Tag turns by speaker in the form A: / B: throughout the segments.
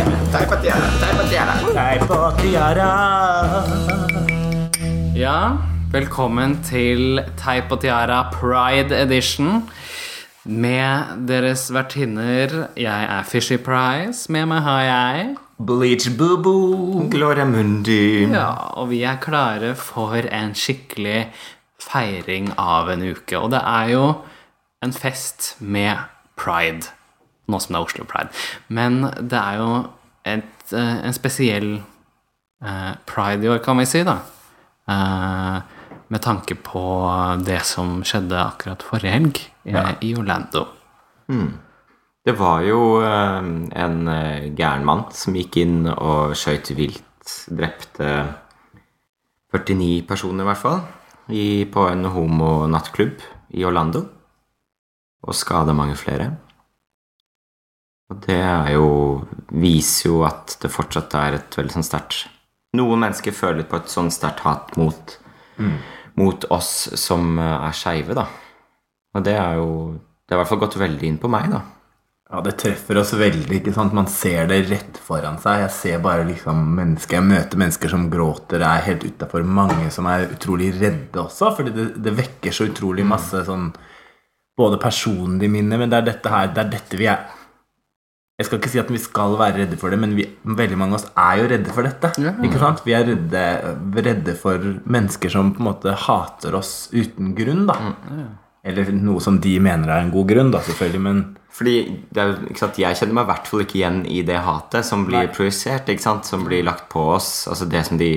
A: Teipatiara, teipatiara.
B: Ja, velkommen til Teip og Tiara Pride Edition. Med deres vertinner. Jeg er Fishy Price. Med meg har jeg
A: Bleach Boo-Boo, Gloria Mundi.
B: Ja, og vi er klare for en skikkelig feiring av en uke. Og det er jo en fest med pride. Nå som det er Oslo Pride. Men det er jo et, eh, en spesiell eh, pride i år, kan vi si, da. Eh, med tanke på det som skjedde akkurat forrige helg eh, i Orlando.
A: Det var jo eh, en eh, gæren mann som gikk inn og skøyt vilt. Drepte 49 personer, i hvert fall, i, på en homonattklubb i Orlando. Og skada mange flere. Og det er jo viser jo at det fortsatt er et veldig sånn sterkt Noen mennesker føler på et sånn sterkt hat mot, mot oss som eh, er skeive, da. Og det er jo Det har i hvert fall gått veldig inn på meg, da.
C: Ja, det treffer oss veldig. ikke sant? Man ser det rett foran seg. Jeg ser bare liksom mennesker. Jeg møter mennesker som gråter, er helt utafor. Mange som er utrolig redde også, fordi det, det vekker så utrolig masse sånn Både personlige minner, men det er dette her, det er dette vi er Jeg skal ikke si at vi skal være redde for det, men vi, veldig mange av oss er jo redde for dette. ikke sant? Vi er redde, redde for mennesker som på en måte hater oss uten grunn, da. Eller noe som de mener er en god grunn, da, selvfølgelig, men
A: Fordi det er, jo- ikke sant? Jeg kjenner meg i hvert fall ikke igjen i det hatet som blir projisert, ikke sant? som blir lagt på oss. Altså det som de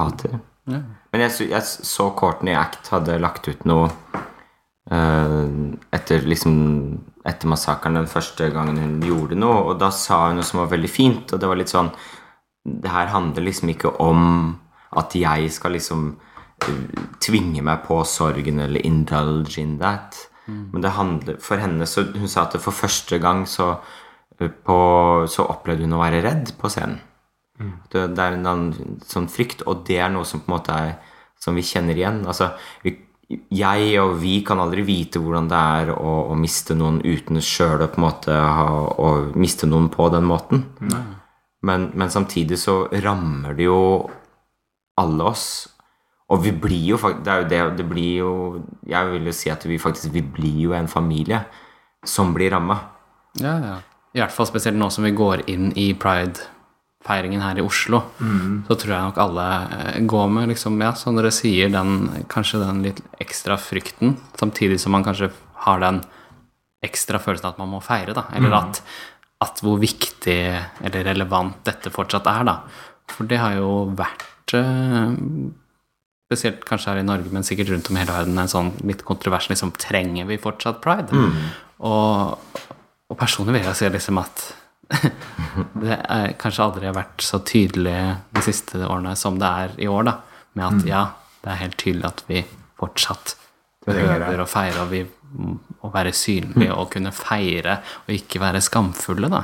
A: hater. Men jeg, sy- jeg så Courtney Act hadde lagt ut noe eh, etter, liksom, etter massakren den første gangen hun gjorde noe, og da sa hun noe som var veldig fint, og det var litt sånn Det her handler liksom ikke om at jeg skal liksom tvinge meg på sorgen eller indulge in that. Men det handler For henne så Hun sa at for første gang så eh, på, så opplevde hun å være redd på scenen. Det, det er en annen sånn frykt, og det er noe som på en måte er Som vi kjenner igjen. Altså, vi, jeg og vi kan aldri vite hvordan det er å, å miste noen uten sjøl å på en måte ha, å miste noen på den måten. Men, men samtidig så rammer det jo alle oss. Og vi blir jo faktisk det, er jo det, det blir jo Jeg vil jo si at vi faktisk Vi blir jo en familie som blir ramma.
B: Ja, ja. I hvert fall spesielt nå som vi går inn i Pride-feiringen her i Oslo, så tror jeg nok alle eh, går med, liksom, ja, som dere sier, den, kanskje den litt ekstra frykten, samtidig som man kanskje har den ekstra følelsen at man må feire, da, eller at, at hvor viktig eller relevant dette fortsatt er, da. For det har jo vært eh, spesielt kanskje her i Norge, men sikkert rundt om hele verden, en sånn litt kontrovers liksom, trenger vi fortsatt pride? Og, og personlig vil jeg si liksom at det er kanskje aldri har vært så tydelig de siste årene som det er i år, da, med at ja, det er helt tydelig at vi fortsatt behøver å feire, og vi å være synlige og kunne feire og ikke være skamfulle, da.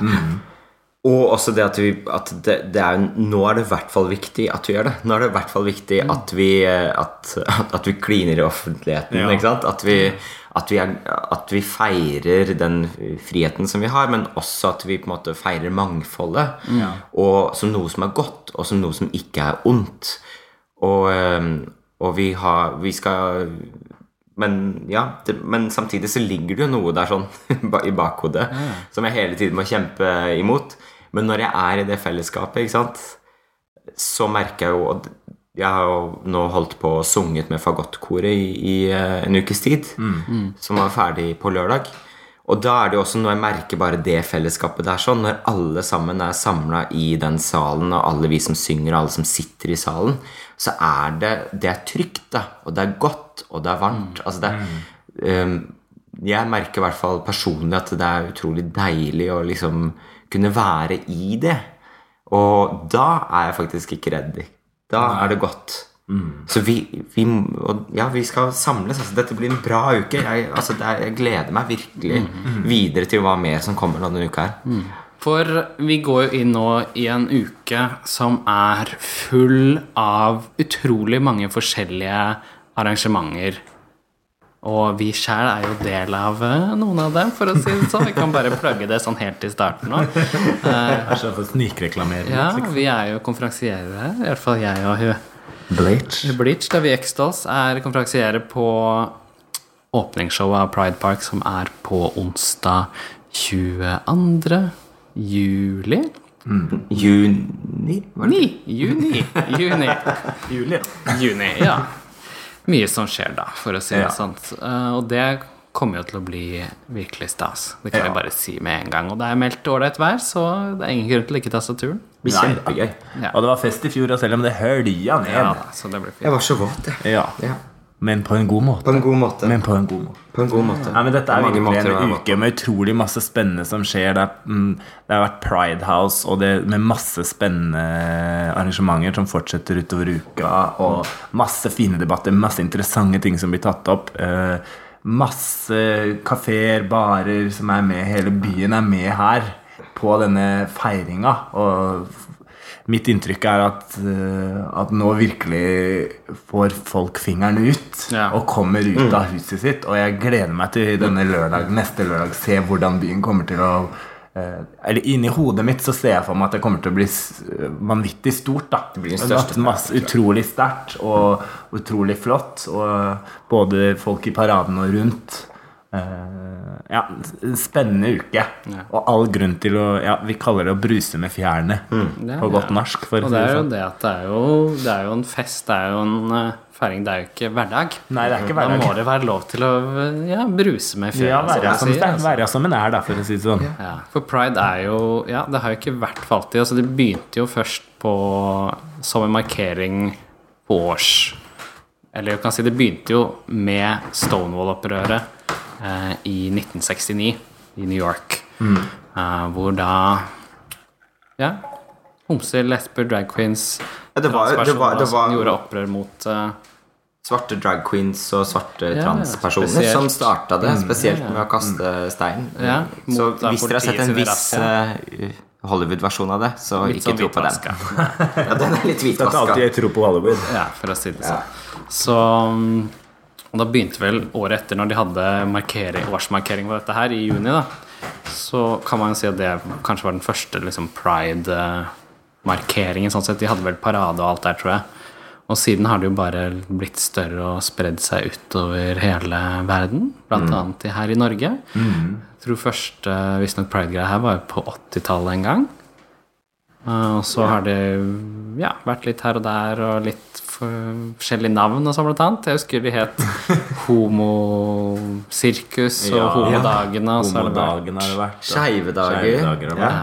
A: Og også det at, vi, at det, det er, jo- nå er det i hvert fall viktig at vi gjør det. Nå er det i hvert fall viktig at, vi, eh, at, at vi kliner i offentligheten.
C: Ja.
A: Ikke sant? At, vi, at, vi er, at vi feirer den friheten som vi har, men også at vi på en måte feirer mangfoldet. Og som noe som er godt, og som noe som ikke er ondt. Og, eh, og vi, har, vi skal men, ja, det, men samtidig så ligger det jo noe der sånn ba- i bakhodet som jeg hele tiden må kjempe imot. Men når jeg er i det fellesskapet, ikke sant, så merker jeg jo og Jeg har jo nå holdt på og sunget med fagottkoret i, i eh, en ukes tid, som var ferdig på lørdag. Og da er det jo også når jeg merker bare det fellesskapet der sånn, når alle sammen er samla i den salen, og alle vi som synger, og alle som sitter i salen, så er det Det er trygt, da. Og det er godt, og det er varmt. Altså det er um, jeg merker i hvert fall personlig at det er utrolig deilig å liksom kunne være i det. Og da er jeg faktisk ikke redd. Da er det godt.
C: Mm.
A: Så vi, vi og Ja, vi skal samles. Altså, dette blir en bra uke. Jeg, altså, det er, jeg gleder meg virkelig
C: Mm.
A: videre til hva mer som kommer denne uka her.
B: For vi går jo inn nå i en uke som er full av utrolig mange forskjellige arrangementer Og vi sjæl er jo del av eh, noen av dem, for å si det sånn. Vi kan bare plugge det sånn helt i starten nå.
C: Æsj, jeg får snikreklamere.
B: Ja, vi er jo konferansierere. I hvert fall jeg og hun.
C: Bleach.
B: Bleach, da vi Extals, er konferansiere på åpningsshowet av Pride Park, som er på onsdag 22. juli.
A: Juni? Var det?
B: Ni, juni, juni,
C: Julie.
B: juni, ja. Mye som skjer da, for å si det
C: Ja.
B: sånn. Eh, Og det kommer jo til å bli virkelig stas. Det kan
C: Ja.
B: jeg bare si med en gang. Og det er meldt ålreit vær, så det er ingen grunn til å ikke ta seg turen.
A: Det blir
C: Nei.
A: kjempegøy.
B: Ja.
C: Og det var fest i fjor, og selv om det hølja ned
B: Ja, da, så det blir fint.
A: Jeg var så våt, jeg.
C: Ja.
A: Ja.
C: Men på en god måte.
A: På en god måte.
C: Men på en god måte.
A: på en god måte.
C: Nei, men Dette er
A: sånn. På mange måter
C: virkelig
A: å være
C: en
A: våt.
C: uke med utrolig masse spennende som skjer. Det, er, mm, det har vært Pride House og det med masse spennende arrangementer som fortsetter utover uka. Og masse fine debatter, masse interessante ting som blir tatt opp. eh, masse kafeer, barer som er med. Hele byen er med her på denne feiringa. Og f- mitt inntrykk er at, eh, at nå virkelig får folk fingeren ut
B: Ja.
C: og kommer ut av huset sitt. Og jeg gleder meg til denne lørdag, neste lørdag, se hvordan byen kommer til å eh, eller Inni hodet mitt så ser jeg for meg at det kommer til å bli s- eh, vanvittig stort. da Det
A: blir den største
C: masse, Utrolig sterkt og utrolig flott. Og både folk i paraden og rundt. Eh, ja, en spennende uke. Og all grunn til å ja, Vi kaller det å bruse med fjærene
B: Det er
C: på
B: det.
C: godt norsk. For å
B: Og
C: si
B: det er
C: det
B: jo
C: sånn.
B: det at det er jo, det er jo en fest, det er jo en eh, feiring, det er jo ikke hverdag.
C: Nei, det er ikke
B: Da må
C: hverdag.
B: det være lov til å eh, ja, bruse med fjøla.
C: Ja,
B: som
C: være
B: man
C: som,
B: sier,
C: det er
B: altså.
C: være som en er, da, for å si det sånn.
B: Ja, for pride er jo Ja, det har jo ikke vært for alltid. Altså, det begynte jo først på som en markering på års Eller jeg kan si det begynte jo med Stonewall-opprøret eh, i 1969 i New York.
A: Mm.
B: Eh, hvor da Ja. Homser, lesber, drag queens
A: Ja, det var jo- det var-
B: transpersoner
A: det var-
B: som gjorde opprør mot eh,
A: Svarte drag queens og svarte
B: ja,
A: transpersoner
B: spesielt. Mm.
A: som starta det. Spesielt med å kaste stein.
B: Ja, mot
A: så
B: da
A: hvis dere har sett en
B: politiet
A: viss
B: sine
A: eh, Hollywood-versjon av det, så
B: litt
A: ikke
B: sånn
A: tro på den.
B: hvitvaska.
A: Ja, den er litt
C: Det er
A: hvitvaska.
C: alltid jeg tror på Hollywood.
B: Ja, for å si det sånn. Så mm, og da begynte vel året etter, når de hadde markering, årsmarkering på dette her, i juni, da, så kan man jo si at det kanskje var den første liksom, pride-markeringen. sånn sett. De hadde vel parade og alt der, tror jeg. Og siden har det jo bare blitt større og spredd seg utover hele verden, blant annet i- her i Norge. Jeg tror første visstnok pride-greia her var jo på 80-tallet en gang. Uh, Og så har det ja, vært litt her og der, og litt for- forskjellige navn og sånn, blant annet. Jeg husker de het Homosirkus og
C: Ja.
B: Homodagene. Og, så har det vært,
C: Homodagen har det vært. da.
A: Skeive dager.
C: Skeive dager har det vært.
B: ja.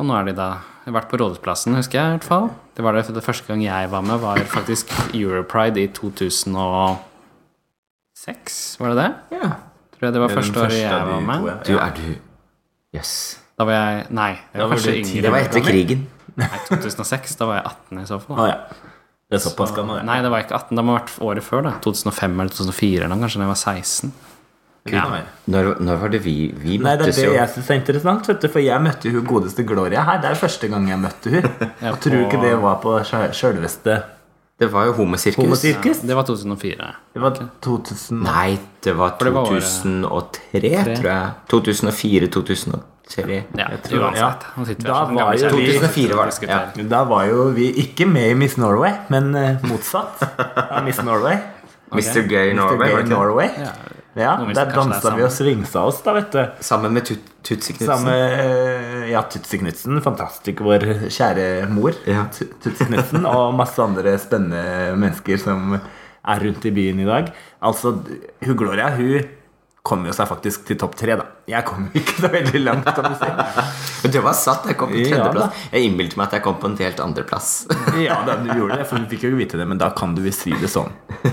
B: og nå er de da jeg har vært på Rådhusplassen, husker jeg. i hvert fall. Det var det, det første gang jeg var med, var faktisk Europride i 2006. Var det det?
A: Ja.
B: Tror jeg det var
C: Det er den
B: første året jeg
C: av de
B: var
C: to,
B: med.
C: ja.
A: Du, er du Jøss.
B: Da var jeg Nei, jeg var
C: var
B: kanskje
C: du ti-
A: Det
B: yngre.
A: var etter krigen.
B: Nei, 2006. Da var jeg 18 i så fall. da.
C: Å ja. Det er såpass gammel, ja.
B: Nei, det var ikke 18. Det må ha vært året før. da 2005 eller 2004, eller noe, kanskje da jeg var 16.
C: Kunne
B: Ja.
C: være.
A: Når, når var det vi Vi
C: Nei, det er
A: møttes
C: det
A: jo.
C: jeg syns er interessant, vet du, for jeg møtte jo hun godeste Gloria her. Det er første gang jeg møtte hun. Jeg tror du ikke det var på sj- sjølveste
A: Det var jo homosirkus.
C: homosirkus.
B: Det var 2004.
C: Det var 2000
A: Nei, det var
B: det var året-
A: 2003, tror jeg. 2004-2003.
B: Ja,
C: tror-
B: uansett.
C: ja.
B: Nå sitter vi
C: Da
B: her som gamle
C: var jo
B: kjerringer.
C: vi-
A: 2004 var det,
B: Diskuterer.
A: ja.
C: Da var jo vi ikke med i Miss Norway, men eh, motsatt av Miss Norway.
A: Mr. Gay Norway.
C: Norway,
A: var det ikke det?
C: Norway.
B: Ja.
C: Ja,
B: Nå visste
C: Der
B: kanskje det
C: dansa
B: er
C: vi og svingsa oss, da, vet du.
A: Sammen med Tut Tutsi Knutsen.
C: Samme eh, Ja, Tutsi Knutsen. Fantastisk, vår kjære mor.
A: Ja.
C: Tu- Tutsi Knutsen og masse andre spennende mennesker som er rundt i byen i dag. Altså, hun Gloria, hun kom jo seg faktisk til topp tre, da. Jeg kom jo ikke så veldig langt. kan du si.
A: Men det var satt. Jeg kom på
C: Ja,
A: tredjeplass. jeg innbilte meg at jeg kom på en helt andreplass.
C: Ja, da, du gjorde det, for hun fikk jo ikke vite det, men da kan du visst si det sånn.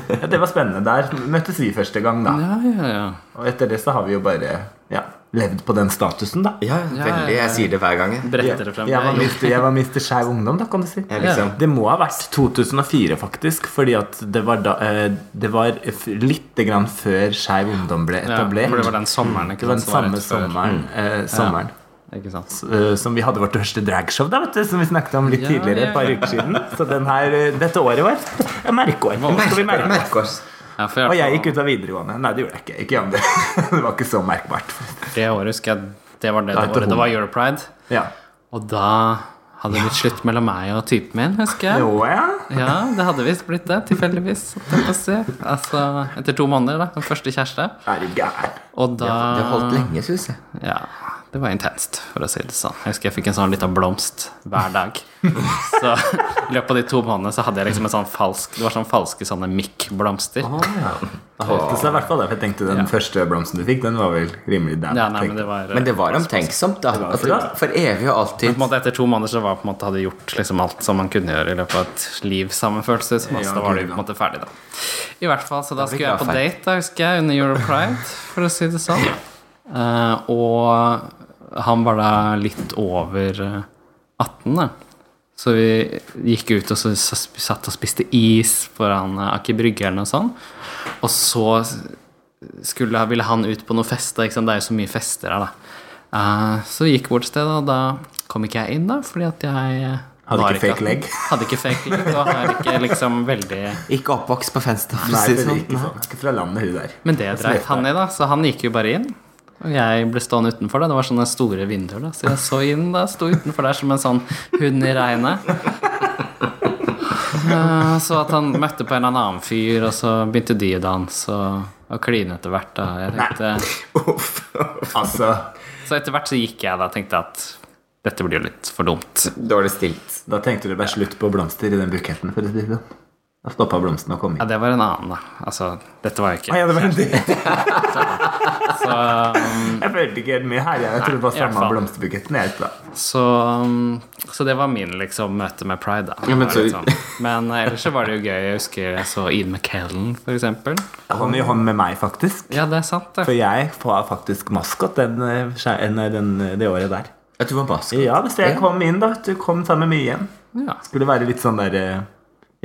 C: Ja, det var spennende. Der møttes vi første gang, da.
B: Ja, ja, ja.
C: Og etter det så har vi jo bare ja, levd på den statusen, da.
A: Ja, veldig. Jeg sier det hver gang. jeg.
B: Bretter det frem.
C: Jeg var
B: Jo.
C: mister, jeg var mister Skeiv Ungdom, da, kan du si.
A: Jeg liksom,
C: Det må ha vært 2004, faktisk. Fordi at det var, da, eh, det var f- lite grann før Skeiv Ungdom ble
B: Ja,
C: etablert.
B: for det var den sommeren, ikke
C: Det var den
B: sant? som var
C: samme
B: rett før.
C: sommeren, eh, sommeren
B: Ikke sant?
C: eh, som vi hadde vårt første dragshow, da, vet du, som vi snakket om litt
B: Ja,
C: tidligere.
B: ja,
C: et par
B: ja.
C: uker siden Så den her, eh, dette året var et merkeår. Skal vi merke
A: Merke oss.
B: Ja, for i hvert
C: Og jeg
B: fall-
C: gikk ut av videregående. Nei, det gjorde jeg ikke. Ikke jammen. Det var ikke så merkbart.
B: Det året husker jeg Det var det,
C: Da
B: det
C: heter
B: året.
C: hun.
B: Det var Europride.
C: Ja.
B: Og da hadde det blitt slutt mellom meg og typen min, husker jeg.
C: Jo, ja.
B: Ja, det hadde visst blitt det, tilfeldigvis. holdt jeg på å si. Altså, etter to måneder, da. Den første kjæreste.
C: Er du gæren?
B: Og da
A: Det holdt lenge, syns jeg.
B: Ja, det var intenst, for å si det sånn. Jeg husker jeg fikk en sånn liten blomst hver dag. Så i løpet av de to månedene så hadde jeg liksom en sånn falsk Det var sånn falske sånne mikkblomster.
C: Å, ja. Da holdt det seg i hvert fall. da, For jeg tenkte den første blomsten du fikk, den var vel rimelig der.
B: Ja, nei, men det var
A: Men det var omtenksomt, da. At det, for evig og
B: Men på
A: alltid.
B: en måte etter to måneder så var jeg på en måte hadde gjort liksom alt som man kunne gjøre i løpet av et liv sammen, føles det som.
C: Ja,
B: Altså, da var det
C: gud,
B: på en måte ferdig, da. I hvert fall, så da
A: fikk
B: skulle
A: jeg
B: jeg på date, da, husker jeg, under Europride, for å si det sånn. Eh, og han var da litt over eh, 18, da. Så vi gikk ut og så s- satt og spiste is foran eh, Aker Brygge eller noe sånt. Og så skulle, ville han ut på noen fester. Ikke sant? Det er jo så mye fester her, da. Eh, så vi gikk bort et sted, og da kom ikke jeg inn, da, fordi at jeg eh,
C: Hadde
B: var
C: ikke fake
B: 18.
C: leg.
B: Hadde ikke fake leg, og har ikke liksom veldig
A: Ikke oppvokst på Fenstad, for å
C: Nei,
A: si
C: det
A: det
C: er
A: sånn.
C: ikke sånn. Ikke fra landet, hun der.
B: Men det dreit han i, da, så han gikk jo bare inn. Og jeg ble stående utenfor, da. Det var sånne store vinduer, da. Så jeg så inn, da. Sto utenfor der som en sånn hund i regnet. Eh, Så at han møtte på en eller annen fyr, og så begynte de å danse og, og kline etter hvert, da. Jeg tenkte,
C: Altså,
B: så etter hvert så gikk jeg da og tenkte at dette blir jo litt for dumt.
A: Dårlig stilt.
C: Da tenkte du det ble slutt på blomster i den buketten. For å si det sånn. Da stoppa blomstene å komme
B: Ja,
C: inn.
B: det var en annen, da. Altså, dette var jo ikke
C: Ah, ja, det var en del.
B: Så, um,
C: Jeg følte ikke helt med her. Jeg, jeg trodde
B: i
C: det var
B: hvert
C: samme
B: fall.
C: blomsterbuketten. Jeg, da.
B: så, mm, så det var min liksom møte med Pride, da.
A: Ja, men
B: Det var litt
A: så-
B: sånn. men eh, ellers så var det jo gøy. Jeg husker jeg så Ian McKellen, for eksempel.
C: Han i hånd med meg, faktisk.
B: Ja, det er sant,
C: For
B: det.
C: jeg var faktisk maskot den, eh, skje- en- den, eh, det året der.
A: At du var maskot.
C: Ja, så jeg kom inn, da. vet Du kom sammen med mye igjen.
B: Ja.
C: Skulle være litt sånn der eh,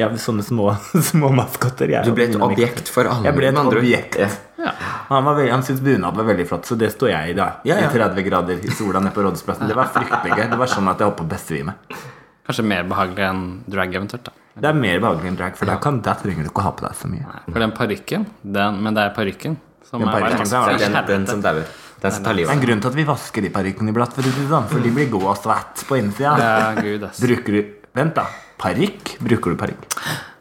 C: Ja, sånne små, små maskotter. Jeg,
A: Du ble et
C: og mine
A: objekt for alle.
C: Jeg ble et
A: med andre ord.
C: objekt.
A: Ja.
B: Ja.
C: Han, var veldig, han syntes bunad var veldig flott, så det står jeg i da.
A: Ja, ja.
C: I 30 grader i sola nede på Rådhusplassen. Det var fryktelig gøy. Det var sånn at jeg holdt på å besvime.
B: Kanskje mer behagelig enn drag, eventuelt. da
C: Det er mer behagelig enn drag, for da, kan, da trenger du ikke å ha på deg så mye.
B: For den parykken den, Men det er parykken som
C: Den
B: er
C: parykken,
B: verdens
C: det er
A: Ja,
B: verste
A: Den, den
B: helvete.
A: som dauer. Den som tar
C: Det er
A: livet av
C: en grunn til at vi vasker de parykkene iblant, for, å si det sånn, for de blir gode og svette på innsida.
B: Ja, gud, ass.
C: Bruker du Vent, da. Parykk? Bruker du parykk?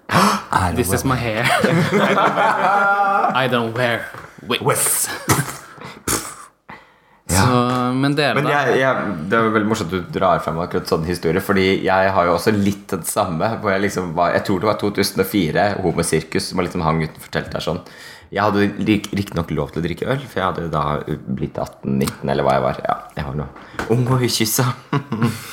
C: Er
B: Ah, This is
C: det
B: my hair. I don't wear wigs. Så, men dere,
A: Men
B: da?
A: jeg, jeg, det er veldig morsomt at du drar frem akkurat sånn historie, Fordi jeg har jo også litt den samme. Hvor jeg, liksom var, jeg tror det var 2004, homosirkus, som liksom hang utenfor teltet her sånn. Jeg hadde riktignok lov til å drikke øl, for jeg hadde da blitt 18-19, eller hva jeg var. Ja, jeg var nå ung og ukyssa.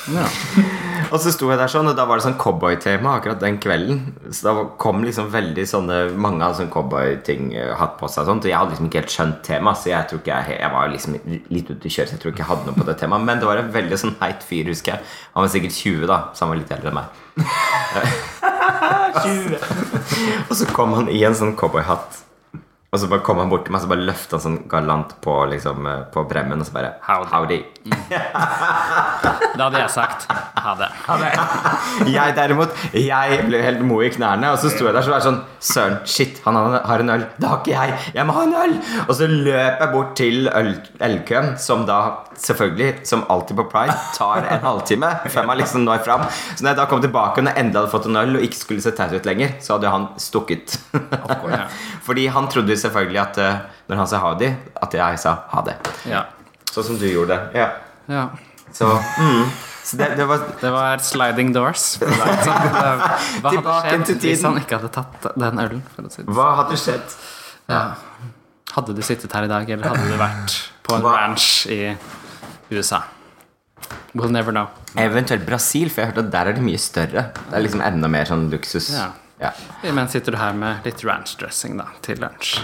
A: Og så sto jeg der sånn, og da var det sånn cowboytema akkurat den kvelden. Så da kom liksom veldig sånne Mange hadde sånn cowboyting eh, hatt på seg og sånt. Og jeg hadde liksom ikke helt skjønt temaet, så jeg tror ikke jeg, jeg var liksom litt ute å kjøre, så jeg tror ikke jeg hadde noe på det temaet. Men det var en veldig sånn heit fyr, husker jeg. Han var sikkert 20, da, så han var litt eldre enn meg. Og så kom han i en sånn cowboyhatt. Og så bare kom han bort til meg så bare løfta han sånn galant på, liksom, eh, på bremmen og så bare
B: Howdy.
A: Howdy.
B: Da hadde jeg sagt ha det.
A: Jeg derimot, jeg ble helt mo i knærne, og så sto jeg der så var jeg sånn Søren, shit, han har- har en øl. Det har ikke jeg. Jeg må ha en øl! Og så løp jeg bort til øl- ølkøen, som da selvfølgelig, som alltid på Pride, tar en halvtime. Fem er liksom når fram. Så når jeg da kom tilbake og når jeg endelig hadde fått en øl og ikke skulle se teit ut lenger, så hadde jo han stukket. Fordi han trodde selvfølgelig at eh, når han sa ha det, at jeg sa ha det.
B: Ja.
A: Sånn som du gjorde det. Ja.
B: ja.
A: Så, mm. så det, det var
B: Det var sliding doors. for å si det sånn. Hva hadde
A: Tilbake
B: skjedd
A: til
B: hvis
A: tiden.
B: han ikke hadde tatt den ølen? For å si det. sånn?
A: Hva hadde skjedd?
B: Ja. Hadde du sittet her i dag, eller hadde du vært på en
A: Hva-
B: ranch i USA? We'll never know.
A: Eventuelt Brasil, for jeg har hørt at der er det mye større. Det er liksom enda mer sånn luksus.
B: Ja.
A: Ja.
B: Men sitter du her med litt ranchdressing da, til lunsj.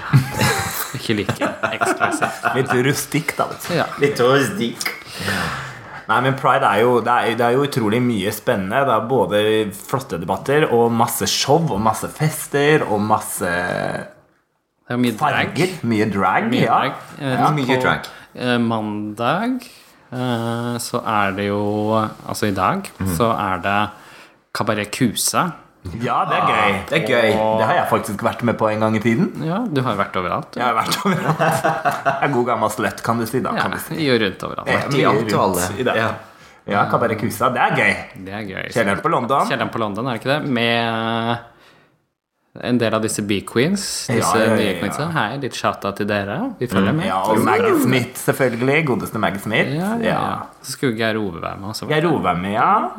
B: Ikke like eksklusivt.
C: Litt rustikk, da. vet du.
B: Ja.
A: Litt hos Dick.
C: Nei, men Pride er jo, det er, det er jo utrolig mye spennende. Det er både flotte debatter og masse show og masse fester og masse
B: Det er jo mye drag.
C: farger. Mye drag.
B: Mye
C: ja.
B: drag. Eh,
A: Ja, mye
B: på,
A: drag.
B: eh, Mandag
C: Mhm.
B: eh, så er det jo Altså i dag så er det Kabaret Kusa.
C: Ja, det er gøy.
A: Det er gøy.
C: Det har jeg faktisk vært med på en gang i tiden.
B: Ja, du har jo vært overalt. du.
C: Jeg har vært overalt. Jeg er god gammel sløtt, kan du si. da
B: Ja,
C: kan du si.
B: i og rundt overalt.
A: Vært i
C: Mye
A: alt og
C: rundt
A: alle.
C: i dag.
A: Ja.
C: Ja, Kabarekusa. Det er gøy.
B: Det er gøy.
C: Kjelleren på London.
B: Kjelleren på London, er det ikke det? Med eh, en del av disse B-queens. Disse
C: Ja, ja, ja,
B: nye
C: ja.
B: queensa. Hei, litt shouta til dere. Vi følger med.
C: Ja, og Maggie Smith, selvfølgelig. Godeste Maggie Smith.
B: Ja, ja,
C: Ja.
B: ja. Så skulle Geir Ove være med også.
C: Jeg roer meg med, ja.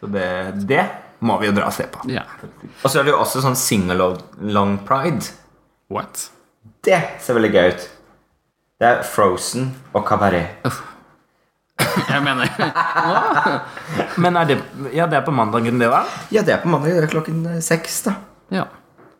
C: Så det, det må vi jo dra og se på.
B: Ja.
A: Og så er det jo også sånn singalong pride.
B: What?
A: Det ser veldig gøy ut. Det er Frozen og kabaret.
B: Jeg mener
C: Men er det, ja, det er på mandagen, det, da?
A: Ja, det er på mandag. Det er klokken eh, seks, da.
B: Ja.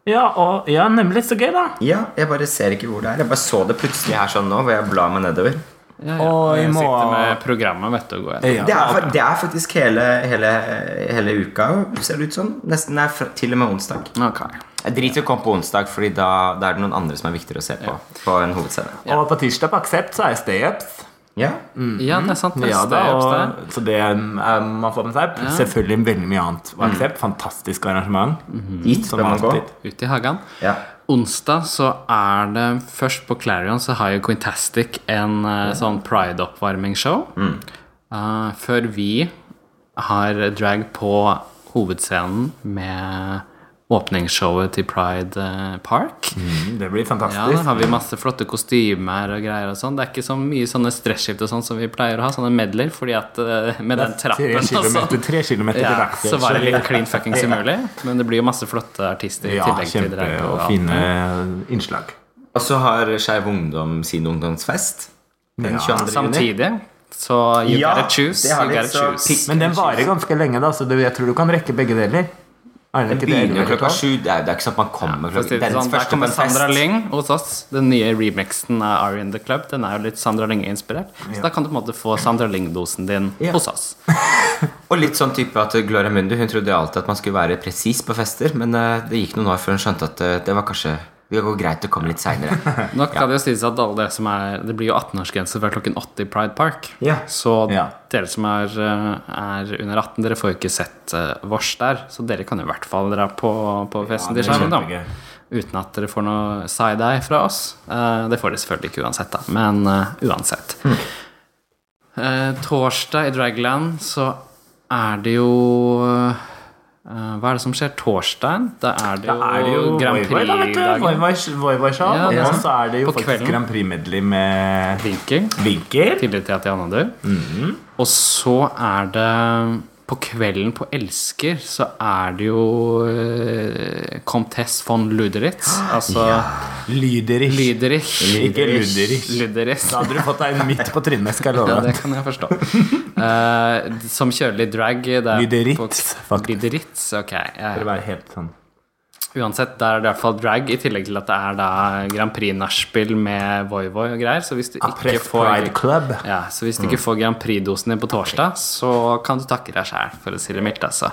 C: Ja, og, ja, nemlig. Så gøy, da.
A: Ja, jeg bare ser ikke hvor det er. Jeg bare så det plutselig her sånn nå, hvor jeg blar meg nedover.
B: ja, ja.
C: Og i
B: Jeg sitter
C: morgen-
B: med programmet, vet du, og går gjennom.
A: Det er, fa- det er faktisk hele, hele, eh, hele uka, ser det ut som. Nesten det er fra, til og med onsdag.
B: Ok.
A: Jeg driter i å komme på onsdag, Fordi da, da er det noen andre som er viktigere å se på. På en hovedscene. Mhm.
C: Og på tirsdag på Aksept så er Stay-ups.
A: Ja.
B: Ja, det er sant. Det er
C: Mhm. Ja, da,
B: Stay-ups der.
C: og, så det er, eh, man får med seg. Selvfølgelig veldig mye annet.
B: Mm.
C: Og Aksept, fantastisk arrangement.
B: Mhm.
A: Dit
C: Som
A: bør man gå.
C: alltid.
B: Ute i hagen.
A: Ja.
B: Onsdag så er det først på Clarion så har jo Quintastic en eh, sånn pride-oppvarmingsshow.
C: Mm.
B: Eh, før vi har drag på hovedscenen med åpningsshowet til Pride eh, Park.
C: Mm, Det blir
B: Ja, da
C: fantastisk.
B: har vi masse flotte kostymer og greier og sånn. Det er ikke så mye sånne stresskift og sånn som vi pleier å ha, sånne medler, fordi at eh, med den trappen
C: Tre
B: og
C: kilometer,
B: sånn
C: tre kilometer til
B: ja,
C: dags.
B: så var det litt clean fuckings umulig. Men det blir jo masse flotte artister i
C: Ja,
B: tillegg til
C: kjempe
B: drag.
C: og
B: alt.
C: fine innslag.
A: Og så har Skeiv Ungdom sin ungdomsfest. Den
C: Ja,
A: 22. juni.
B: Samtidig så you
A: Ja,
B: gotta choose.
A: det har
B: You
A: vi,
B: gotta
A: så
B: choose.
A: pick-
C: Men den varer ganske lenge, da, så du, jeg tror du kan rekke begge deler. Er
A: Den
C: det ikke det?
A: begynner jo klokka
C: Eller?
A: sju. Det er, det er ikke sånn at man kommer
B: For å
A: klokka
B: si det
A: Verdens
B: sånn, Der
A: første
B: kommer Sandra
A: fest.
B: Lyng hos oss. Den nye remixen av Are in the Club. Den er jo litt Sandra Lyng-inspirert. Så da kan du på en måte få Sandra Lyng-dosen din
A: Ja.
B: hos oss.
A: Og litt sånn type at Gloria Mundi Hun trodde alltid at man skulle være presis på fester, men eh, det gikk noen år før hun skjønte at eh, det var kanskje det går greit å komme litt seinere.
B: Nå kan det jo sies at alle dere som er Det blir jo 18-årsgrense fra klokken 8 i Pride Park.
A: Ja.
B: Så
C: Ja.
B: dere som er, eh, er under 18, dere får jo ikke sett eh, vårs der. Så dere kan jo i hvert fall dra på, på festen
C: det
B: til Skjermen,
C: skjønner jeg.
B: da. Uten at dere får noe side-eye fra oss. Eh, det får dere selvfølgelig ikke uansett, da. Men eh, uansett.
C: Hm.
B: Eh, torsdag i Dragland så er det jo eh, Hva er det som skjer torsdagen? Da er det jo,
C: Da er det jo
B: Grand
C: Voi Voi, da, vet du. Voi
B: Prix-dagen.
C: Voi- Voi Voi Show.
B: Ja, det er
C: Og
B: sant.
C: så er det jo
B: På
C: faktisk
B: kvelden.
C: Grand Prix-medley med
B: Vinking.
C: Vinker.
B: Tillit til at Janne dør.
C: Mhm.
B: Og så er det På kvelden på Elsker så er det jo eh, Comtesse von Luderitz. Altså
C: Lyderich.
B: Lyderich.
C: Ikke Luderich.
B: Luderitz.
C: Da hadde du fått deg midt på trynet, skal jeg
B: Ja,
C: love
B: det
C: deg.
B: kan jeg forstå. Eh, som kjører litt drag. Det er
C: Lyderitz,
B: på-
C: faktisk.
B: Lyderitz, ok. Eh,
C: For å være helt sånn.
B: Uansett, det er det i hvert fall drag, i tillegg til at det er da Grand Prix nachspiel med Voi Voi og greier. Så hvis du ikke
C: Ah, Press
B: får
C: Pride Club.
B: Ja, så hvis du
C: Mm.
B: ikke får Grand Prix-dosen din på torsdag, så kan du takke deg sjæl, for å si det mildt, altså.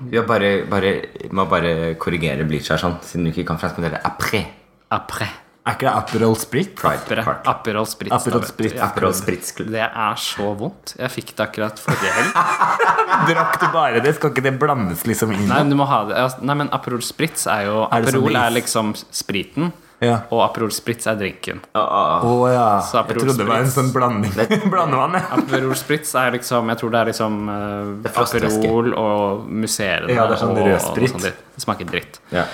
A: Vi har bare, bare, må bare korrigere Bleach her, sånn, siden du ikke kan fransk, men det er après.
B: Après.
C: Er ikke det Aperol Sprit?
A: Pride
B: Apre-
A: Park.
B: Aperol Spritz. da,
C: Aperol
B: vet
C: Sprit.
B: du. Ja.
A: Aperol Spritz Club.
B: Det er så vondt. Jeg fikk det akkurat forrige helg.
C: Drakk du bare det? Skal ikke det blandes liksom inn?
B: Nei, men du må ha det. Altså, Nei, men Aperol Spritz er jo
C: Er det som
B: Aperol
C: is?
B: er liksom spriten,
C: Ja.
B: og Aperol Spritz er drinken.
A: Å, å, å.
C: Å ja.
B: Så
C: Jeg
B: Aperol
C: trodde det var en
B: Spritz.
C: sånn blanding. Blandevann, ja.
B: Aperol Spritz er liksom Jeg tror det er liksom eh,
A: Det er frostvæske.
B: Aperol og musserende
C: Ja, det er sånn
B: og- og
C: rød
B: noe
C: sprit.
B: sånt dritt. Det smaker dritt.
A: Ja.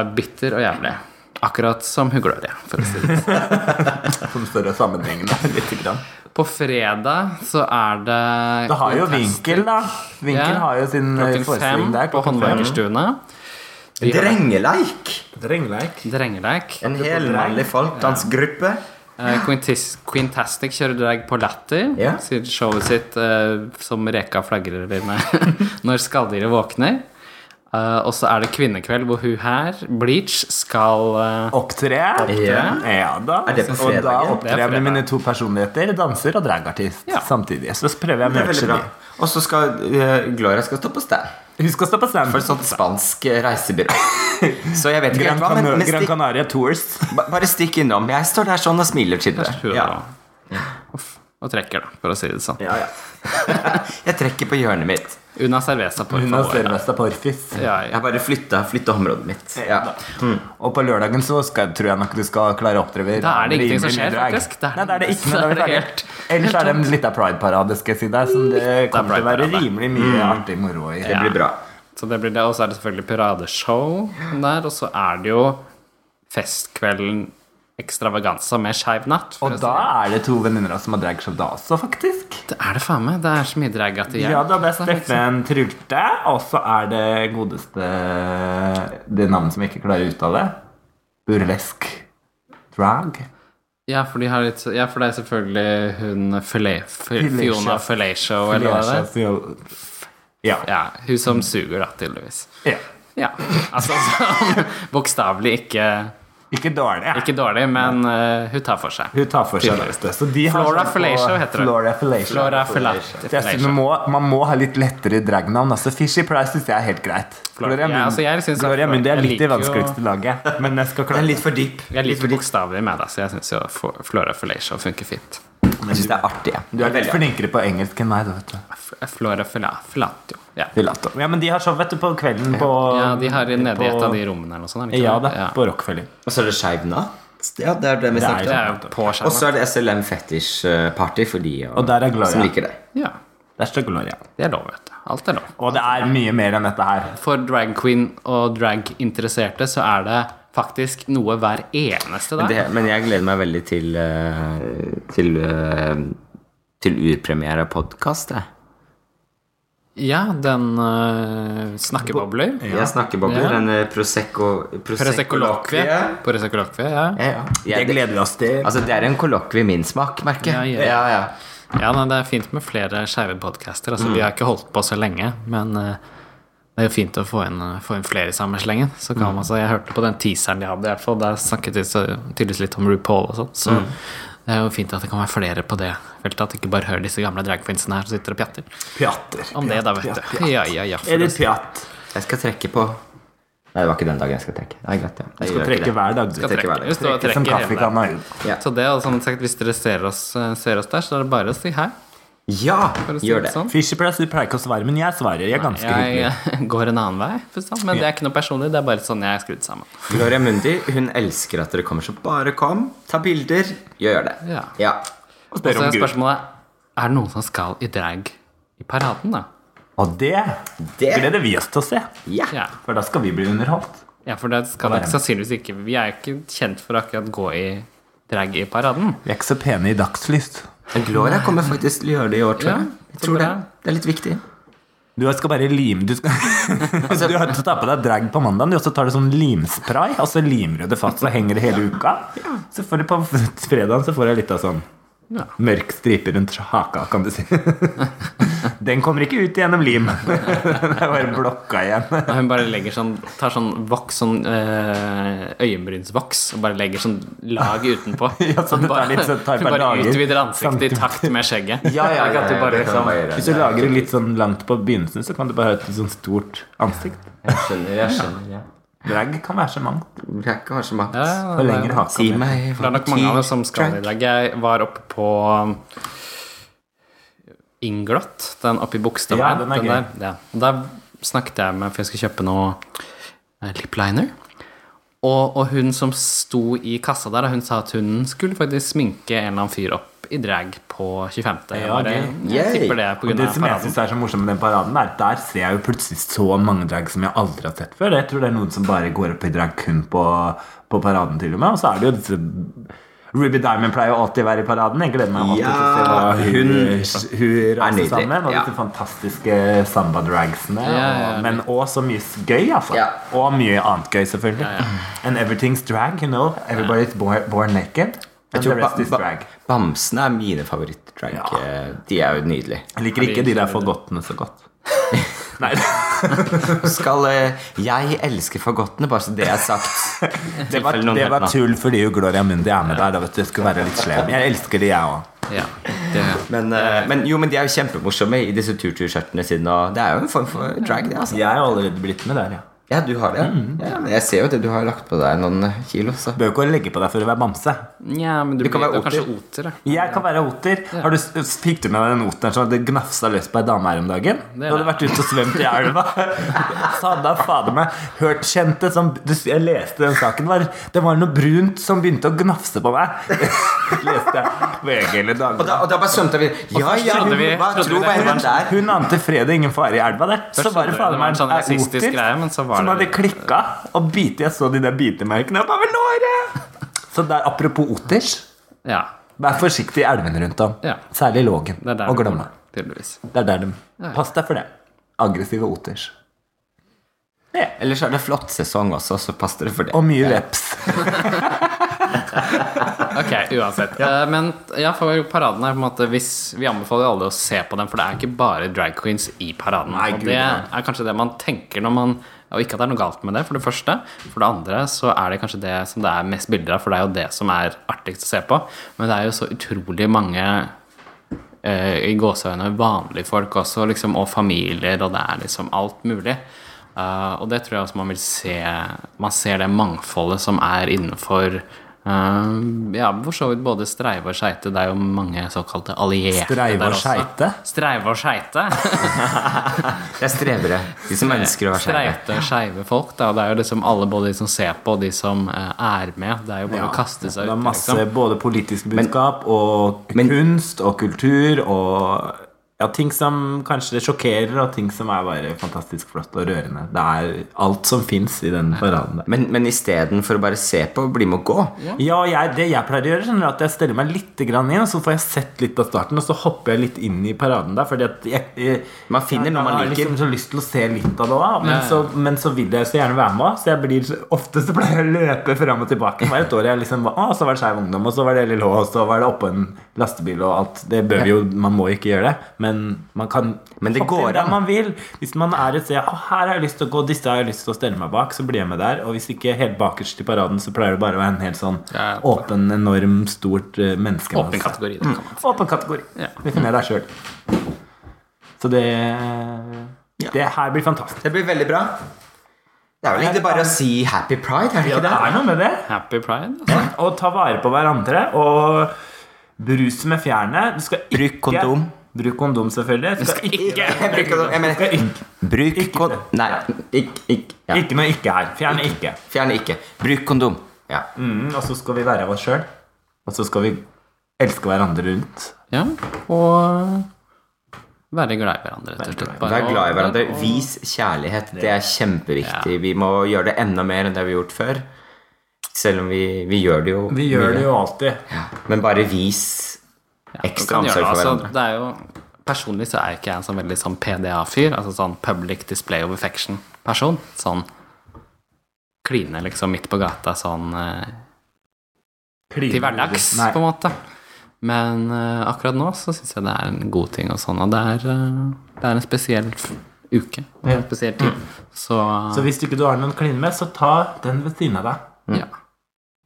B: Er bitter og jævlig. Akkurat som Hugloria, for å si det sånn.
C: Som større sammenhengende. Litt grann.
B: På fredag så er det
C: Det har jo
B: Fantastic.
C: Vinkel, da. Vinkel
B: Ja.
C: har jo sin eh,
B: Klokken
C: forestilling
B: fem
C: der.
B: på håndverkerstuene. De har
A: Drengeleik!
C: Drengleik.
B: Drengeleik.
A: En helmannlig folkdansgruppe.
B: Eh, Quintis- Quintastic kjører drag på Latter.
A: Ja.
B: Sier showet sitt eh, som reka flagrer med når skalldyret våkner. Eh, og så er det kvinnekveld hvor hun her, Bleach, skal eh,
C: Opptre.
A: Ja.
C: Ja da.
A: Er det på
C: Og da
A: fredagen?
B: Det
C: opptrer
B: er
C: jeg med
B: fredag.
C: mine to personligheter, danser og dragartist,
B: Ja.
C: samtidig. Så prøver jeg å
A: Det er
C: matche
A: veldig bra.
C: de.
A: Og så skal eh, Gloria skal stå på stand.
C: Husk å stå på stand.
A: For et sånt spansk eh, reisebyrå. Så jeg vet ikke helt
C: Gran,
A: hva, men,
C: Cana
A: men
C: Gran
A: stikk,
C: Canaria Tours.
A: ba- bare stikk innom. Jeg står der sånn og smiler til
B: Hun
A: dere.
B: er
A: Ja.
B: da- Uff, og trekker, da, for å si det sånn.
A: Ja, ja. jeg trekker på hjørnet mitt.
B: Una cerveza, por
C: Hun har
B: favor.
C: Cerveza Porfis.
B: Ja, ja.
A: Jeg bare flytta, flytta området mitt. Ja.
C: Og på lørdagen så skal, tror jeg nok du skal klare å oppdrive
B: Da er det ingenting som
C: rimelig
B: skjer,
C: mye drag.
B: faktisk. Da er det
C: Nei, da er det
B: ingen-
C: ikke noe.
B: da er
C: Da er
B: det
C: det
B: helt- Mm.
C: Ellers er det en liten pride-parade, skal jeg si deg, som det kommer til å være
B: pride-parade. Mm.
C: rimelig mye artig moro i.
A: Det blir bra.
B: Så det blir det, og så er det selvfølgelig piradeshow der, og så er det jo festkvelden Extravaganza med Skeiv natt. for å
C: Og
B: si
C: da er det to venninner av oss som har dragshow da også, faktisk.
B: Det er det faen meg. Det er så mye drag at det
C: Ja, da
B: Det
C: ble
B: er liksom-
C: Steffen Trulte, og så er det godeste Det navnet som jeg ikke klarer å uttale. Burlesk drag.
B: Ja, for de har litt Ja, for det er selvfølgelig hun Filet- Fi-
C: Filet-show.
B: Fiona Felatio, eller hva det er.
C: Ja.
B: Ja, hun som suger, da, tydeligvis.
C: ja.
B: Ja. Altså sånn bokstavelig ikke
C: Ikke dårlig.
B: Ikke dårlig, men eh, hun tar for seg.
C: Hun tar for seg
B: Tydeligvis.
C: det. Så de har
B: Flora
C: sånn på-
B: Fellatio heter hun.
C: Flora Fellatio.
B: Flora Felat-
C: Så jeg synes man,
B: Felatio.
C: må, man må ha litt lettere dragnavn. Altså, Fishy Price syns jeg er helt greit.
B: Flora- Ja,
C: Gloria Mundi-
B: altså, jeg synes at
C: Gloria
B: Flora-
C: Mundi er
B: jeg
C: litt
B: liker
C: i
B: jo-
C: vanskeligste laget. Men jeg skal
A: Den
C: klare
A: er litt for dyp.
B: Jeg liker bokstavelig med det, så jeg syns jo Fo- Flora Felatio funker fint.
A: Jeg syns det er artig. jeg.
C: Du er litt
A: veldig artig.
C: flinkere på engelsk enn meg. da, vet du.
B: F- Flora Fela- Felatio. Ja.
C: Filato. Ja, men de har show vet du, på kvelden på
B: ja, de har nede i et
C: på-
B: av de rommene eller noe sånt. er det ikke
C: Ja
B: det?
C: da, på Rockefeller.
A: Og så er det Skeiv natt. Ja, det er det vi
B: Det
A: snakket om.
B: er jo på
A: Og så
B: skjermen.
A: er det SLM Fetish eh, Party for de og-
C: Og der er Gloria.
A: som liker det.
B: Ja.
C: Der står Gloria.
B: Det er lov, vet du. Alt er lov.
C: Og det er mye mer enn dette her.
B: For drag queen og drag-interesserte så er det faktisk noe hver eneste dag.
A: det. Men jeg gleder meg veldig til eh, Til, eh, til urpremiere av podkast.
B: Ja, den uh, snakkebobler.
A: Jeg snakker bobler.
B: Ja.
A: Ja. En eh, prosecco...
B: Presekolokvie.
A: Prosecco-lokvie.
B: På resekolokvie, ja.
A: Ja, ja.
C: Det
A: Jeg,
C: gleder vi oss til.
A: altså, det er en kollokvie i min smak, merker
B: Ja,
A: jeg.
B: ja.
A: Ja, ja.
B: Ja, nei, det er fint med flere skeive podcaster. Altså, Vi har ikke holdt på så lenge, men eh, det er jo fint å få inn, eh, få inn flere i samme slengen. Så kan man, så jeg hørte på den teaseren de hadde, i hvert fall. Der snakket de så, tydeligvis litt om RuPaul og sånn. Så det er jo fint at det kan være flere på det feltet. At du ikke bare hører disse gamle dragfinsene her som sitter og pjatter.
C: Pjatter.
B: Om det, da, vet du. Ja, ja, ja. For
C: Eller
B: det
C: pjatt.
A: Jeg skal trekke på Nei, det var ikke den dagen jeg skal trekke. Det er greit, ja. Jeg
C: Du
A: gjør ikke
C: trekker
A: det.
C: hver dag. du.
B: skal
A: trekke hver
B: trekke.
A: dag.
B: Vi står og
C: Trekker som
B: trekker hele veien.
C: kaffekanna ut.
A: Ja.
B: Så det, og som sagt, hvis dere ser oss, eh, ser oss der, så er det bare å si hei.
A: ja,
B: For å si
A: gjør
B: det
A: det.
B: sånn.
C: Fisher Price, du pleier ikke å svare, men jeg svarer. Jeg er ganske hyggelig.
B: Jeg går en annen vei, for sånn. men det er ikke noe personlig. Det er bare sånn jeg er skrudd sammen.
A: Gloria Mundi hun elsker at dere kommer, så bare kom. Ta bilder. Gjør det.
B: Ja.
C: Og
B: Og så
C: spør om
B: er
C: Gud.
B: spørsmålet Er det noen som skal i drag i paraden, da?
C: Og det
A: Det-
C: gleder vi oss til å se.
A: Ja.
B: Ja,
C: For da skal vi bli underholdt.
B: ja for det skal nok sannsynligvis ikke Vi er jo ikke kjent for å akkurat gå i drag i paraden.
C: Vi er ikke så pene i dagslyst.
A: Men Gloria kommer faktisk til å gjøre det i år, tror
B: Ja,
A: jeg.
B: så
A: jeg tror det.
B: bra.
A: det er litt viktig.
C: Du skal bare lime Du, skal du har tatt på deg drag på mandag, og så tar du sånn limspray, og så limer du det fast, så henger det hele uka. Så får du på fredagen så får jeg litt av sånn
B: Ja.
C: mørk stripe rundt haka, kan du si. Den kommer ikke ut gjennom lim. Den er bare blokka igjen.
B: Og hun bare legger sånn tar sånn voks, sånn øh, øyenbrynsvoks, og bare legger sånn lag utenpå.
C: Ja, så det tar litt- så det tar et
B: hun
C: par
B: bare
C: dager.
B: utvider ansiktet i takt med skjegget. Det er ikke at du bare
A: Eh, det kan
B: liksom-
A: man gjøre.
C: Hvis du lager det litt sånn langt på begynnelsen, så kan du bare ha et sånn stort ansikt.
A: Jeg skjønner, jeg skjønner. Ja.
C: Drag kan være så mangt.
A: Det er ikke hva som helst.
B: Ja, det
C: For
B: er-
C: lengre haka.
A: Si meg
B: For det er nok mange av oss som skal i
A: Drag.
B: dag. Jeg var oppe på um, Inglot, den oppe i Bogstadveien.
C: Ja, den er
B: der. Ja. Og Der snakket jeg med, for jeg skulle kjøpe noe eh, lip liner. Og, og hun som sto i kassa der, hun sa at hun skulle faktisk sminke en eller annen fyr opp i drag på 25. Jeg,
C: Ja,
B: bare,
C: gøy.
B: jeg
A: Yay.
B: tipper det på
C: Og
B: grunn
C: det
B: av
C: som jeg
B: paraden.
C: synes er så morsomt med den paraden, er at der ser jeg jo plutselig så mange drag som jeg aldri har sett før. Jeg tror det er noen som bare går opp i drag kun på, på paraden, til og med. Og så er det jo disse Ruby Diamond pleier jo alltid å være i paraden. Jeg gleder meg alltid
A: Ja,
C: til å se hva hun, hun
A: nydelig,
C: raser sammen. Og
A: ja.
C: disse fantastiske samba-dragsene.
B: ja, ja.
C: og- Men òg så mye gøy, altså.
A: Ja.
C: Og mye annet gøy, selvfølgelig. And everything's drag, you know. Everybody's born, born naked.
A: Jeg
C: And
A: tror
C: the rest is
A: ba- ba-
C: drag.
A: Bamsene er mine favorittdrag.
C: Ja.
A: Eh, De er jo nydelige.
C: Jeg liker ikke de der forgottene så godt. Nei
A: Skal eh, Jeg elsker fagottene, bare så det er sagt.
C: Det var,
A: Tilfelle noen
C: det
A: hørte
C: var
A: noe.
C: tull fordi jo Gloria Mundi er med der. Da vet du, jeg skulle være litt slem. Jeg elsker de, jeg òg.
B: Ja, det,
A: Men, eh, men jo, men de er jo kjempemorsomme i disse turturskjørtene sine. Og det er jo en form for drag, det. altså
C: Jeg har allerede blitt med der, ja.
A: Ja, du har det? Ja, men jeg ser jo det. Du har lagt på deg noen kilo. Så.
C: Bør jo ikke legge på deg for å være bamse.
B: Nja, men du,
A: kan
B: blir,
A: være
B: du er kanskje oter, ja.
C: Jeg kan være oter. Har du, fikk du med deg den oteren som hadde gnafsa løs på ei dame her om dagen? Du hadde vært ute og svømt i elva. Så hadde han fader meg hørt kjente som du, Jeg leste den saken. Var, det var noe brunt som begynte å gnafse på meg. leste jeg VG
A: Og
C: eller
A: da,
C: Dagbladet.
A: og da bare svømte vi. Ja,
B: først
A: ja,
B: trodde vi-
A: hva
B: trodde vi
A: tror
B: det
A: jeg
B: var-
A: der?
C: Hun ante fred og ingen fare i elva der. Så
B: Først
C: var
B: trodde jeg
C: det
B: det var
C: fader meg
B: en sånn
C: ei
B: rasistisk
C: oter
B: greie, men så var
C: som
B: det-
C: hadde klikka og bitt Jeg så de der bitemerkene oppover låret. Så der, apropos oters.
B: ja.
C: Vær forsiktig i elvene rundt om.
B: Ja.
C: Særlig Lågen
B: Det er der
C: og
B: det
C: Glomma.
B: går, Tydeligvis.
C: Det er der de Pass deg for det. Aggressive oters.
A: Ellers er det flott sesong også, så pass dere for det.
C: Og mye veps.
B: Ok, uansett. Eh, men ja, for paraden er på en måte hvis, Vi anbefaler alle å se på den, for det er ikke bare drag queens i paraden.
C: Nei,
B: og
C: gud,
B: det
C: nei.
B: er kanskje det man tenker når man Og ikke at det er noe galt med det, for det første. For det andre så er det kanskje det som det er mest bilder av, for det er jo det som er artigst å se på. Men det er jo så utrolig mange eh, i gåseøyne vanlige folk også, liksom, og familier, og det er liksom alt mulig. Eh, og det tror jeg også man vil se Man ser det mangfoldet som er innenfor eh, Ja, for så vidt både streive og skeite. Det er jo mange såkalte allierte
C: Streive
B: der
C: og
B: også.
C: skeite?
B: Streive og skeite.
A: Det er strevere. De som ønsker å være skeive.
B: Streite, skeive folk. Da. Det er jo liksom alle, både de som ser på, og de som eh, er med. Det er jo bare å kaste
C: Det
B: seg
C: er
B: ut.
C: masse
B: Liksom.
C: både politisk budskap og
A: Men-
C: kunst og kultur og ja, ting som kanskje sjokkerer, og ting som er bare fantastisk flott og rørende. Det er alt som fins i den paraden der.
A: Men, men istedenfor å bare se på, bli med og gå.
C: Ja, jeg, det jeg pleier å gjøre, skjønner du, at jeg steller meg litt grann inn, og så får jeg sett litt av starten, og så hopper jeg litt inn i paraden der, fordi at jeg, jeg
A: Man finner noe man
C: Jeg har
A: liker.
C: liksom så lyst til å se litt av det òg, men,
B: Ja, ja.
C: så- men så vil jeg så gjerne være med. Så jeg blir, ofte så pleier jeg å løpe fram og tilbake. Det var et år jeg liksom var, ah, Så var det Skeiv Ungdom, og så var det LLH, og så var det oppå en lastebil og alt. Det bør vi jo, Man må ikke gjøre det, men man kan
A: Men det
C: hoppe inn
A: går
C: der
A: an.
C: man vil. Hvis man er et sted ah, her har jeg lyst til å gå, disse har jeg lyst til å stelle meg bak, så blir jeg med der. Og hvis ikke helt bakerst i paraden, så pleier det bare å være en helt sånn
B: Ja, ja.
C: åpen, enorm, stort eh, menneske.
B: Åpen kategori. Det kan man.
C: Åpen kategori.
B: Ja.
C: Definer deg sjøl. Så det
A: Ja.
C: Det her blir fantastisk.
A: Det blir veldig bra. Det er vel egentlig bare å si happy pride, er det ikke
C: Det
A: det?
C: er noe med det.
B: Happy pride. Altså.
C: Å ta vare på hverandre og brus med fjærene. Du skal ikke
A: Bruk kondom.
C: Bruk kondom, selvfølgelig. Du skal ikke,
A: Jeg bruker, jeg mener,
C: skal ikke,
A: bruk kon... Nei, ikke, ikke, ja.
C: ikke noe ikke her. Fjerne ikke.
A: Fjern ikke. Bruk kondom. Ja.
C: Mm, og så skal vi være av oss sjøl. Og så skal vi elske hverandre rundt.
B: Ja, og være glad i hverandre, rett og slett. Bare
A: Vær glad i
B: å-
A: hverandre.
B: og-
A: Vis kjærlighet. Det er kjempeviktig.
B: Ja.
A: Vi må gjøre det enda mer enn det vi har gjort før. Selv om vi, vi gjør det jo
C: Vi gjør det jo alltid.
A: Ja. Men bare vis ekstra
B: Man kan
A: omsorg
B: gjøre
A: for
B: det,
A: hverandre.
B: Altså, det er jo, personlig så er ikke jeg en sånn veldig sånn PDA-fyr, altså sånn public display of affection-person. Sånn kline liksom midt på gata sånn eh, til hverdags,
C: Nei.
B: på en måte. Men eh, akkurat nå så syns jeg det er en god ting og sånn, og det er, eh, det er en spesiell f- uke. Og en spesiell tid.
A: Mm.
B: Så,
C: Så hvis ikke du har noen å kline med, så ta den ved siden av deg.
B: ja.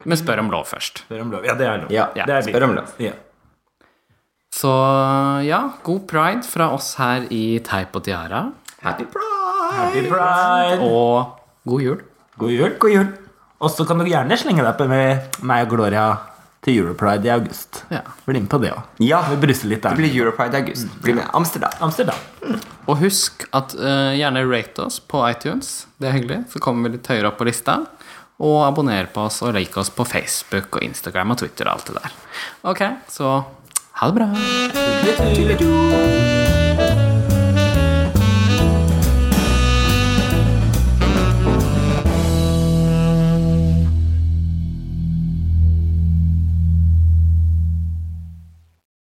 B: Men spør om lov først.
C: Spør om lov. Ja, det er lov.
A: Ja,
C: Det er
B: altså.
C: litt-
A: spør om lov.
C: Ja.
B: Så ja, god pride fra oss her i Teip og Tiara.
A: Happy pride!
C: Happy pride!
B: Og god jul.
C: God jul. God jul. Og så kan du gjerne slenge deg på med meg og Gloria til Europride i august.
B: Ja.
C: Bli med på det òg.
A: Ja,
C: Vi bruser litt
A: det
C: der.
A: blir Europride i august. Bli Mm. med Amsterdam.
C: Amsterdam.
B: Og husk at eh, gjerne rate oss på iTunes. Det er hyggelig. Så kommer vi litt høyere opp på lista. Og abonner på oss og like oss på Facebook og Instagram og Twitter og alt det der. Ok, så ha det bra.
C: Tudeludu.